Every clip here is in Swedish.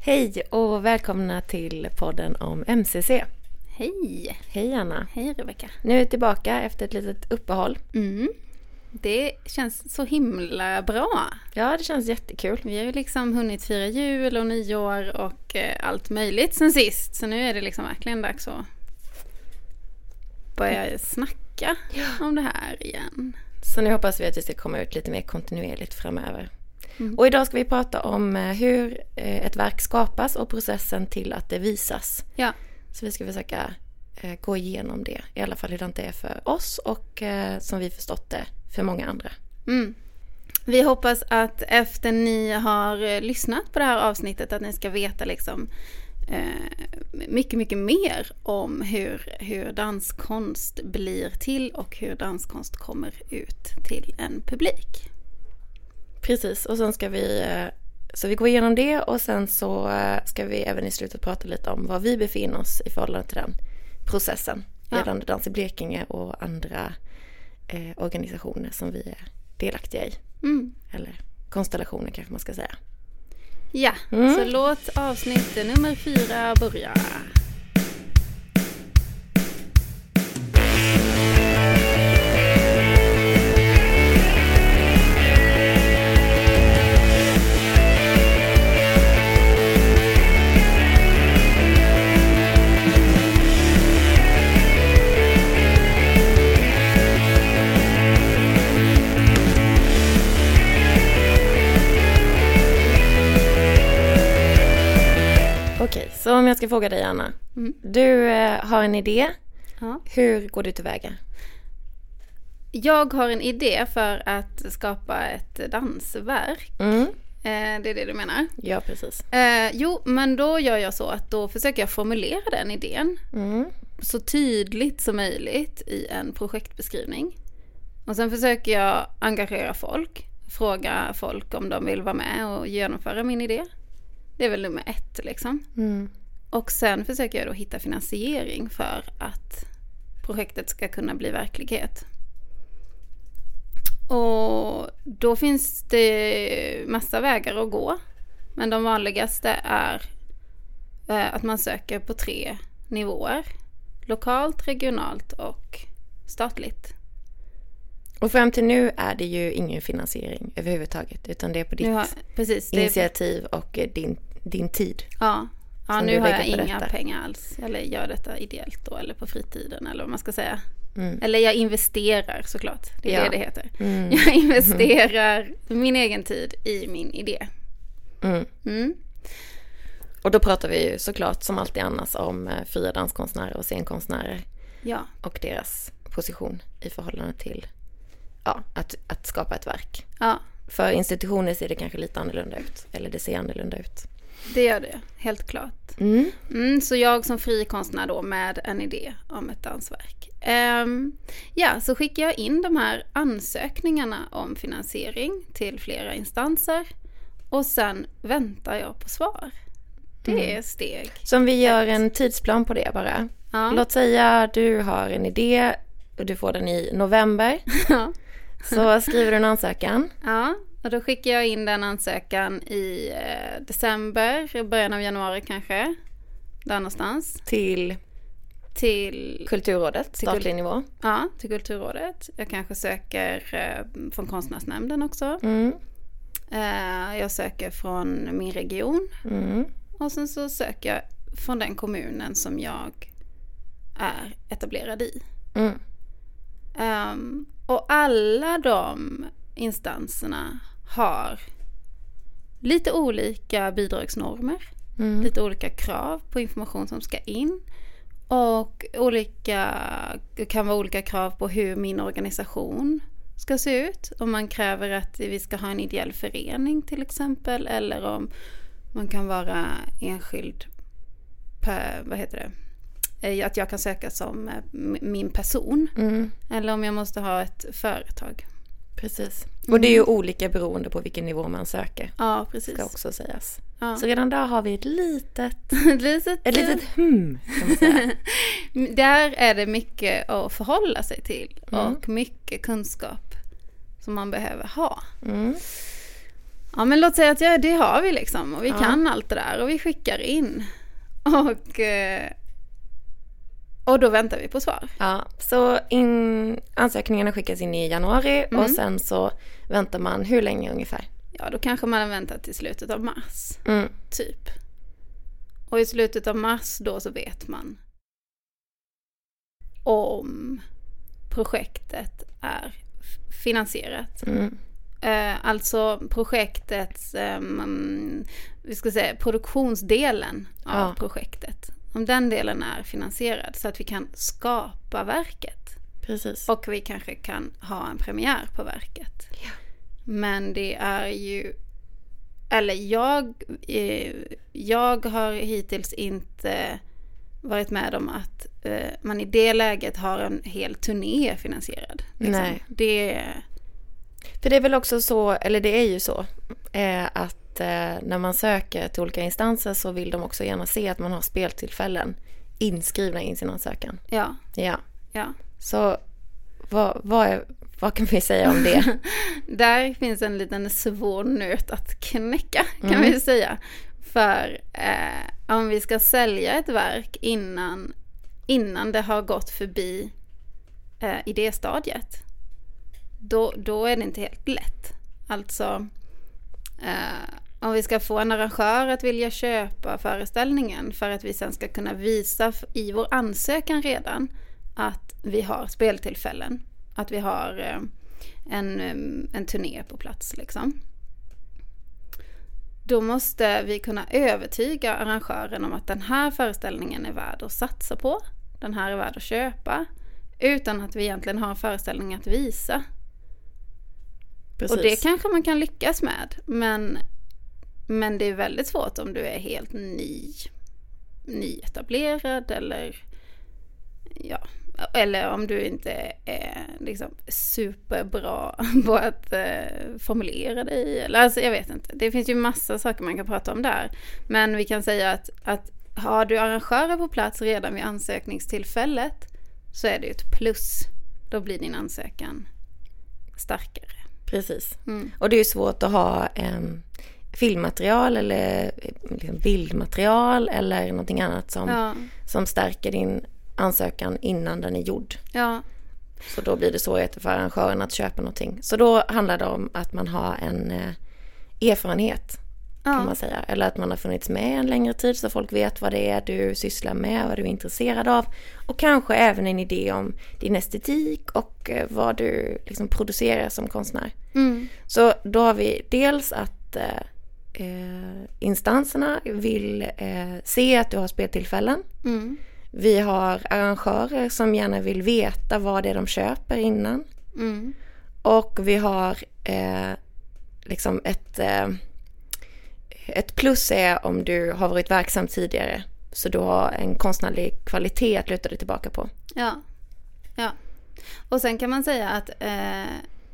Hej och välkomna till podden om MCC. Hej! Hej Anna! Hej Rebecka! Nu är vi tillbaka efter ett litet uppehåll. Mm. Det känns så himla bra. Ja, det känns jättekul. Vi har ju liksom hunnit fira jul och nyår och eh, allt möjligt sen sist. Så nu är det liksom verkligen dags att börja snacka om det här igen. Så nu hoppas vi att det ska komma ut lite mer kontinuerligt framöver. Och idag ska vi prata om eh, hur eh, ett verk skapas och processen till att det visas. Ja, Så vi ska försöka eh, gå igenom det, i alla fall hur det är för oss och eh, som vi förstått det för många andra. Mm. Vi hoppas att efter ni har eh, lyssnat på det här avsnittet att ni ska veta liksom eh, mycket, mycket mer om hur, hur danskonst blir till och hur danskonst kommer ut till en publik. Precis, och sen ska vi eh, så vi går igenom det och sen så eh, ska vi även i slutet prata lite om var vi befinner oss i förhållande till den processen Ja. gällande Dans i Blekinge och andra eh, organisationer som vi är delaktiga i. Mm. Eller konstellationer kanske man ska säga. Ja, så låt avsnitt nummer fyra börja. Okej, så om jag ska fråga dig Anna. Du eh, har en idé. Ja. Hur går du tillväga? Jag har en idé för att skapa ett dansverk. Mm. Eh, det är det du menar? Ja, precis. Eh, jo, men då gör jag så att då försöker jag formulera den idén Mm. så tydligt som möjligt i en projektbeskrivning. Och sen försöker jag engagera folk, fråga folk om de vill vara med och genomföra min idé. Det är väl nummer ett liksom. Mm. Och sen försöker jag då hitta finansiering för att projektet ska kunna bli verklighet. Och då finns det massa vägar att gå. Men de vanligaste är eh, att man söker på tre nivåer. Lokalt, regionalt och statligt. Och fram till nu är det ju ingen finansiering överhuvudtaget utan det är på ditt Nu har, precis, det, initiativ och eh, din, din tid. ja, ja, som nu du har jag lägger på inga detta. pengar alls. Eller gör detta ideellt då, eller på fritiden eller vad man ska säga. Mm. Eller jag investerar såklart. Det är Ja. det det heter. Mm. Jag investerar min egen tid i min idé. Mm. Mm. Och då pratar vi ju såklart som alltid annars om eh, fria danskonstnärer och scenkonstnärer Ja, och deras position i förhållande till ja, att, att skapa ett verk. ja, För institutioner ser det kanske lite annorlunda ut, eller det ser annorlunda ut. det gör det. Helt klart. Mm. Mm, så jag som fri konstnär då med en idé om ett dansverk. Ehm, ja, så skickar jag in de här ansökningarna om finansiering till flera instanser. Och sen väntar jag på svar. Det är steg. Så om vi gör en tidsplan på det bara. Ja. Låt säga du har en idé och du får den i november. Ja. Så skriver du en ansökan. Ja, och då skickar jag in den ansökan i eh, december, början av januari kanske. Där någonstans. till Till, Kulturrådet, statlig nivå. ja, till Kulturrådet. Jag kanske söker eh, från Konstnärsnämnden också. Mm. Eh, jag söker från min region. Mm. Och sen så söker jag från den kommunen som jag är etablerad i. Mm. Ehm, och alla de instanserna har lite olika bidragsnormer, Mm. lite olika krav på information som ska in. Och olika, det kan vara olika krav på hur min organisation ska se ut. Om man kräver att vi ska ha en ideell förening till exempel. Eller om man kan vara enskild, pe- vad heter det? Eh, Att jag kan söka som eh, m- min person. Mm. Eller om jag måste ha ett företag. Precis. Mm. Och det är ju olika beroende på vilken nivå man söker. Ja, Ska precis. också sägas. Ja. Så redan där har vi ett litet, Ett litet, ett litet hmm. Kan man säga. Där är det mycket att förhålla sig till och mycket kunskap som man behöver ha. Mm. Ja men låt säga att ja, det har vi liksom och vi Ja. kan allt det där och vi skickar in. Och, eh, och då väntar vi på svar. Ja, så in, ansökningarna skickas in i januari och sen så väntar man hur länge ungefär? Ja då kanske man har väntat till slutet av mars, Mm. typ. Och i slutet av mars då så vet man om projektet är f- finansierat. Mm. Eh, alltså projektets, eh, man, vi ska säga produktionsdelen av Ja. projektet. Om den delen är finansierad så att vi kan skapa verket. Precis. Och vi kanske kan ha en premiär på verket. Men det är ju, eller jag, eh, jag har hittills inte varit med om att eh, man i det läget har en hel turné finansierad. liksom. Nej. Det, För det är väl också så, eller det är ju så, eh, att eh, när man söker till olika instanser så vill de också gärna se att man har speltillfällen inskrivna i sin ansökan. ja, Ja, ja. så vad, vad, är, vad kan vi säga om det? Där finns en liten svår nöt att knäcka kan vi säga. För eh, om vi ska sälja ett verk innan, innan det har gått förbi eh, idéstadiet. Då, då är det inte helt lätt. Alltså eh, om vi ska få en arrangör att vilja köpa föreställningen för att vi sen ska kunna visa f- i vår ansökan redan att vi har speltillfällen. Att vi har eh, en, eh, en turné på plats liksom. Då måste vi kunna övertyga arrangören om att den här föreställningen är värd att satsa på. Den här är värd att köpa. Utan att vi egentligen har en föreställning att visa. Precis. Och det kanske man kan lyckas med. Men, men det är väldigt svårt om du är helt ny. Nyetablerad eller ja, eller om du inte är liksom superbra på att eh, formulera dig. Eller alltså jag vet inte. Det finns ju massa saker man kan prata om där. Men vi kan säga att, att har du arrangörer på plats redan vid ansökningstillfället så är det ju ett plus. Då blir din ansökan starkare. Precis. Mm. Och det är ju svårt att ha eh, filmmaterial eller eh, liksom bildmaterial eller någonting annat som, Ja, som stärker din ansökan innan den är gjord. ja, Så då blir det svårigheter för arrangören att köpa någonting. Så då handlar det om att man har en eh, erfarenhet kan ja, man säga. Eller att man har funnits med en längre tid så folk vet vad det är du sysslar med, vad du är intresserad av. Och kanske även en idé om din estetik och eh, vad du liksom producerar som konstnär. mm, Så då har vi dels att eh, eh, instanserna vill eh, se att du har speltillfällen. mm, Vi har arrangörer som gärna vill veta vad det är de köper innan. mm, Och vi har eh, liksom ett, eh, ett plus är om du har varit verksam tidigare. Så du har en konstnärlig kvalitet att luta dig tillbaka på. ja, ja. Och sen kan man säga att, eh,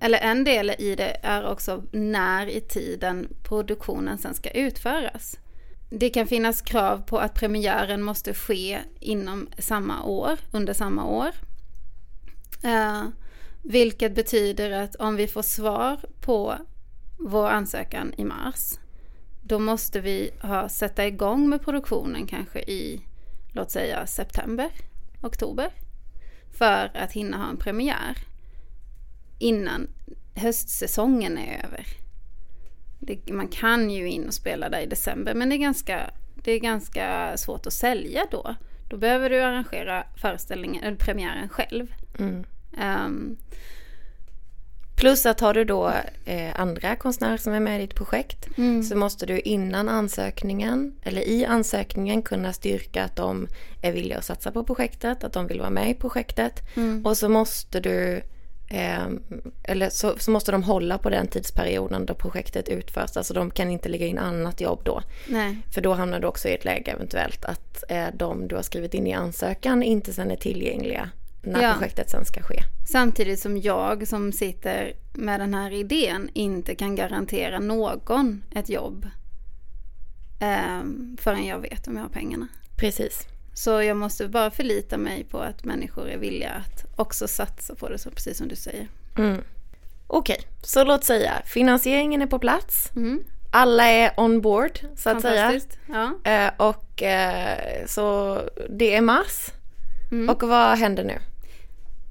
eller en del i det är också när i tiden produktionen sen ska utföras. Det kan finnas krav på att premiären måste ske inom samma år, under samma år. Eh, vilket betyder att om vi får svar på vår ansökan i mars, då måste vi ha, sätta igång med produktionen kanske i, låt säga september, oktober. För att hinna ha en premiär innan höstsäsongen är över. Det, man kan ju in och spela där i december men det är, ganska, det är ganska svårt att sälja då. Då behöver du arrangera föreställningen, eller premiären själv. Mm. Ehm, Plus att har du då eh, andra konstnärer som är med i ditt projekt Mm. så måste du innan ansökningen eller i ansökningen kunna styrka att de är villiga att satsa på projektet, att de vill vara med i projektet. Mm. Och så måste du eh, eller så, så måste de hålla på den tidsperioden då projektet utförs. Alltså de kan inte lägga in annat jobb då. nej. För då hamnar du också i ett läge eventuellt att eh, de du har skrivit in i ansökan inte sen är tillgängliga när Ja. projektet sen ska ske. Samtidigt som jag som sitter med den här idén inte kan garantera någon ett jobb ehm, förrän jag vet om jag har pengarna. Precis. Så jag måste bara förlita mig på att människor är villiga att också satsa på det, så precis som du säger. Mm. Okej, så låt säga finansieringen är på plats. Mm. Alla är on board så att säga. Fantastiskt. Ja. Eh, och eh, så det är mars. Mm. Och vad händer nu?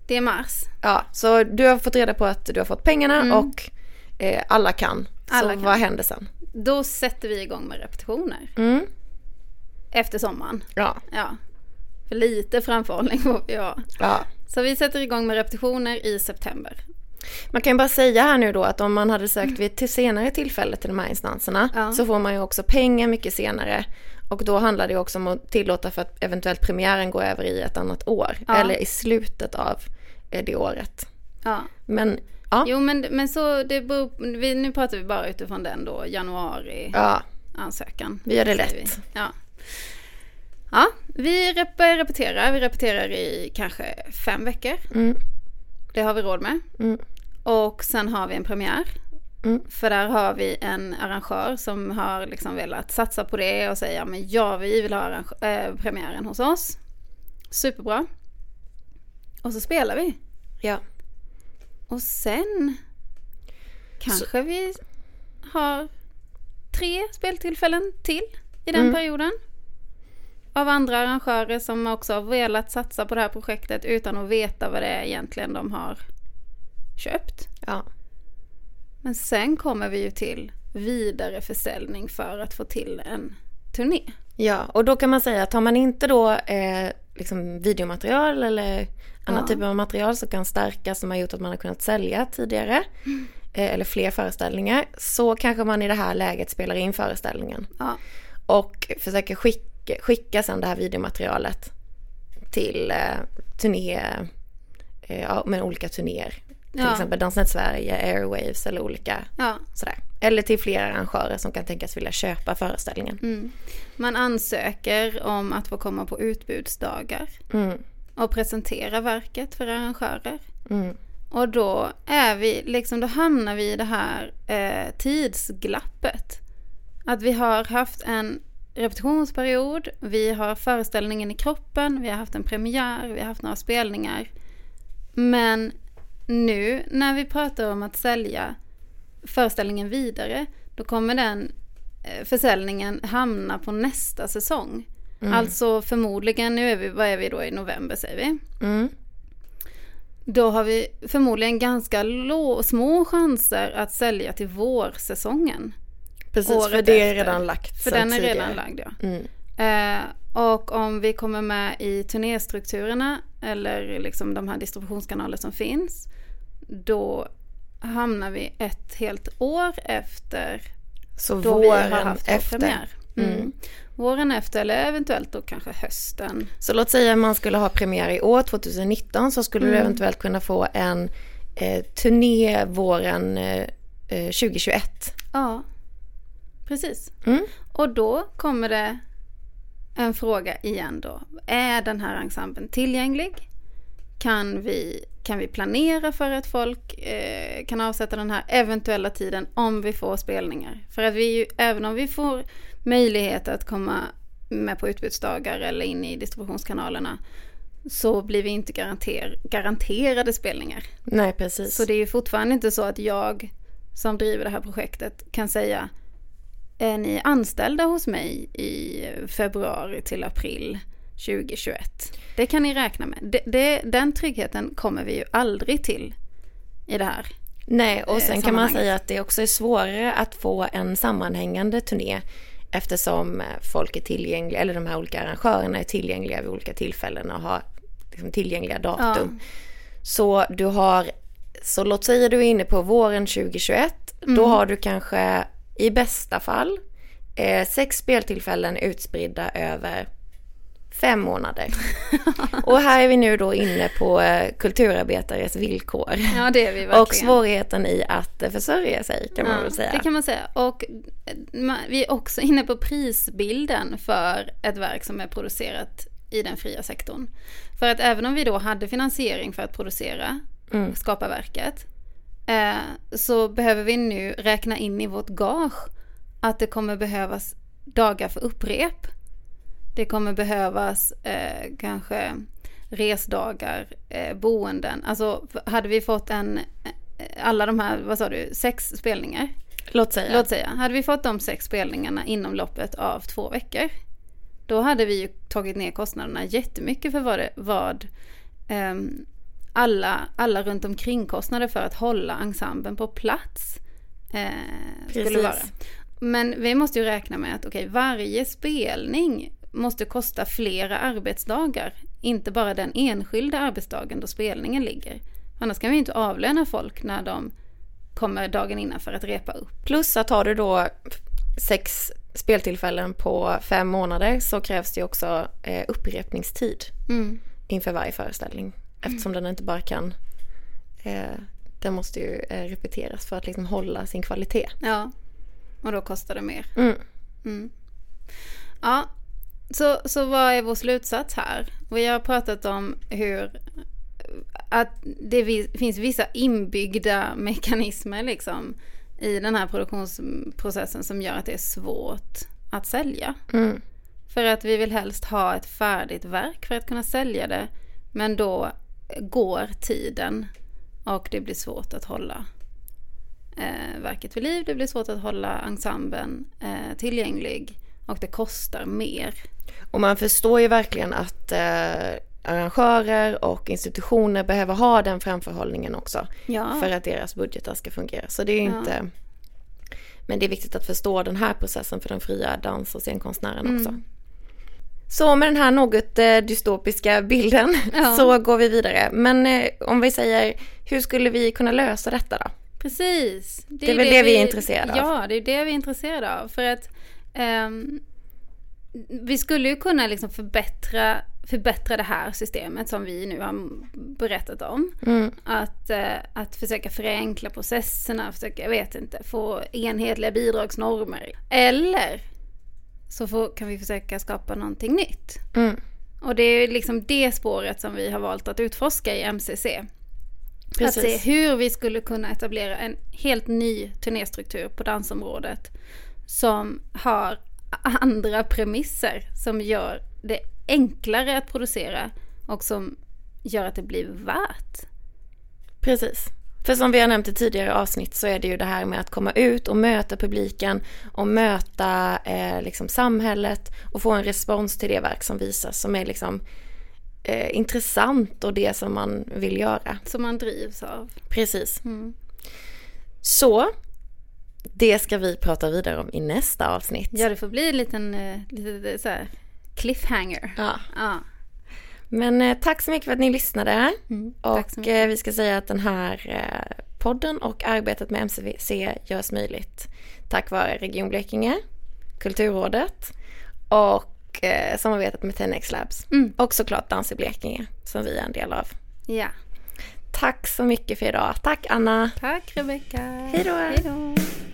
Det är mars. Ja, så du har fått reda på att du har fått pengarna och eh, alla kan. så Mm. Alla kan. vad händer sen? Då sätter vi igång med repetitioner. Mm. Efter sommaren. Ja, Ja. För lite framförhållning får vi ha. ja. Så vi sätter igång med repetitioner i september. Man kan ju bara säga här nu då att om man hade sökt vid ett till senare tillfälle till de här instanserna Ja. så får man ju också pengar mycket senare. Och då handlar det ju också om att tillåta för att eventuellt premiären går över i ett annat år. Ja. Eller i slutet av eh, det året. Ja. Men ja, Jo men, men så det beror, vi, nu pratar vi bara utifrån den då januari ja ansökan. vi gör det säger lätt. vi. Ja. ja, vi rep- repeterar. Vi repeterar i kanske fem veckor. Mm. Det har vi råd med. Mm. Och sen har vi en premiär. Mm. För där har vi en arrangör som har liksom velat satsa på det och säga men ja, vi vill ha arrange- eh, premiären hos oss. Superbra. Och så spelar vi. Ja. Och sen kanske vi har tre speltillfällen till i den Mm. perioden. Av andra arrangörer som också har velat satsa på det här projektet utan att veta vad det är egentligen de har köpt. ja. Men sen kommer vi ju till vidare försäljning för att få till en turné. Ja, och då kan man säga att har man inte då eh, liksom videomaterial eller annan Ja. typ av material som kan stärka som har gjort att man har kunnat sälja tidigare Mm. eh, eller fler föreställningar så kanske man i det här läget spelar in föreställningen Ja, och försöker skicka, skicka sen det här videomaterialet till eh, turné, eh, ja, men olika turnéer. Till Ja. exempel Dansnet Sverige, Airwaves eller olika ja. sådär. Eller till flera arrangörer som kan tänkas vilja köpa föreställningen. Mm. Man ansöker om att få komma på utbudsdagar Mm, och presentera verket för arrangörer. mm, Och då är vi, liksom då hamnar vi i det här eh, tidsglappet. Att vi har haft en repetitionsperiod, vi har föreställningen i kroppen, vi har haft en premiär, vi har haft några spelningar. Men nu när vi pratar om att sälja föreställningen vidare, då kommer den eh, försäljningen hamna på nästa säsong. Alltså förmodligen, nu är vi, vad är vi då i november säger vi? mm. Då har vi förmodligen ganska lå- små chanser att sälja till vårsäsongen. Precis, för året det är efter. redan lagt. För sen den är tidigare. redan lagd ja. Mm. Eh, och om vi kommer med i turnéstrukturerna eller liksom de här distributionskanaler som finns. Då hamnar vi ett helt år efter Så då vi har våren haft vår efter. premiär. Mm. Mm. Våren efter eller eventuellt då kanske hösten. Så låt säga man skulle ha premiär i år, 2019, så skulle Mm. du eventuellt kunna få en eh, turné våren eh, eh, 2021. Ja, precis. Mm. Och då kommer det en fråga igen då. Är den här ensemblen tillgänglig? Kan vi, kan vi planera för att folk eh, kan avsätta den här eventuella tiden om vi får spelningar? För att vi ju, även om vi får möjlighet att komma med på utbudsdagar eller in i distributionskanalerna så blir vi inte garanter, garanterade spelningar. Nej, precis. Så det är ju fortfarande inte så att jag som driver det här projektet kan säga är ni anställda hos mig i februari till april 2021? Det kan ni räkna med. Det, det, den tryggheten kommer vi ju aldrig till i det här. Nej, och sen kan man Eh, sammanhanget. säga att det också är svårare att få en sammanhängande turné eftersom eh, folk är tillgängliga, eller de här olika arrangörerna är tillgängliga vid olika tillfällen och har liksom tillgängliga datum. Så du har, så låt säga du är inne på våren 2021, Mm. då har du kanske i bästa fall eh, sex speltillfällen utspridda över fem månader. och här är vi nu då inne på eh, kulturarbetares villkor. Ja, det är vi Och svårigheten i att eh, försörja sig kan man väl säga. Det kan man säga. Och eh, ma- vi är också inne på prisbilden för ett verk som är producerat i den fria sektorn. För att även om vi då hade finansiering för att producera, Mm. skapa verket, eh, så behöver vi nu räkna in i vårt gage att det kommer behövas dagar för upprep. Det kommer behövas eh, kanske resdagar, eh, boenden. Alltså hade vi fått en, alla de här, vad sa du, sex spelningar. Låt säga. Låt säga, hade vi fått de sex spelningarna inom loppet av två veckor, då hade vi ju tagit ner kostnaderna jättemycket för vad, det, vad ehm, alla, alla runt omkring kostnader för att hålla ensemblen på plats eh, skulle Precis. vara. Men vi måste ju räkna med att okej, varje spelning måste kosta flera arbetsdagar. Inte bara den enskilda arbetsdagen då spelningen ligger. Annars kan vi ju inte avlöna folk när de kommer dagen innan för att repa upp. Plus att har du då sex speltillfällen på fem månader så krävs det ju också eh, upprepningstid Mm, inför varje föreställning. Eftersom den inte bara kan... Eh, den måste ju eh, repeteras för att liksom hålla sin kvalitet. Ja, och då kostar det mer. Mm. Ja, så, så vad är vår slutsats här? Vi har pratat om hur att det vi- finns vissa inbyggda mekanismer liksom i den här produktionsprocessen som gör att det är svårt att sälja. Mm. För att vi vill helst ha ett färdigt verk för att kunna sälja det. Men då går tiden och det blir svårt att hålla eh, verket vid liv. Det blir svårt att hålla ensemblen eh, tillgänglig och det kostar mer. Och man förstår ju verkligen att eh, arrangörer och institutioner behöver ha den framförhållningen också. Ja, För att deras budgetar ska fungera. Så det är ju Ja. inte... Men det är viktigt att förstå den här processen för den fria dans och scenkonstnären också. Mm. Så med den här något eh, dystopiska bilden Ja. så går vi vidare. Men eh, om vi säger, hur skulle vi kunna lösa detta då? precis. Det är väl det vi är intresserade av. Ja, det är det vi är intresserade av. För att ehm, vi skulle ju kunna liksom förbättra, förbättra det här systemet som vi nu har berättat om. Mm. Att, eh, att försöka förenkla processerna, försöka, jag vet inte, få enhetliga bidragsnormer. Eller så får, kan vi försöka skapa någonting nytt. Mm. Och det är ju liksom det spåret som vi har valt att utforska i MCC. Att se Precis. hur vi skulle kunna etablera en helt ny turnéstruktur på dansområdet. Som har andra premisser som gör det enklare att producera och som gör att det blir värt. Precis. För som vi har nämnt i tidigare avsnitt så är det ju det här med att komma ut och möta publiken och möta eh, liksom samhället och få en respons till det verk som visas som är liksom eh, intressant och det som man vill göra. Som man drivs av. Precis. Mm. Så det ska vi prata vidare om i nästa avsnitt. Ja, det får bli en liten eh, lite, så här cliffhanger. Ja. Ja. Men eh, tack så mycket för att ni lyssnade. Mm. Tack så Och mycket. eh, vi ska säga att den här eh, podden och arbetet med MCC görs möjligt tack vare Region Blekinge, Kulturrådet och eh, samarbetet med 10X Labs. Mm. Och såklart Dans i Blekinge som vi är en del av. Ja. Tack så mycket för idag. Tack Anna. Tack Rebecka. Hej då. Hej då.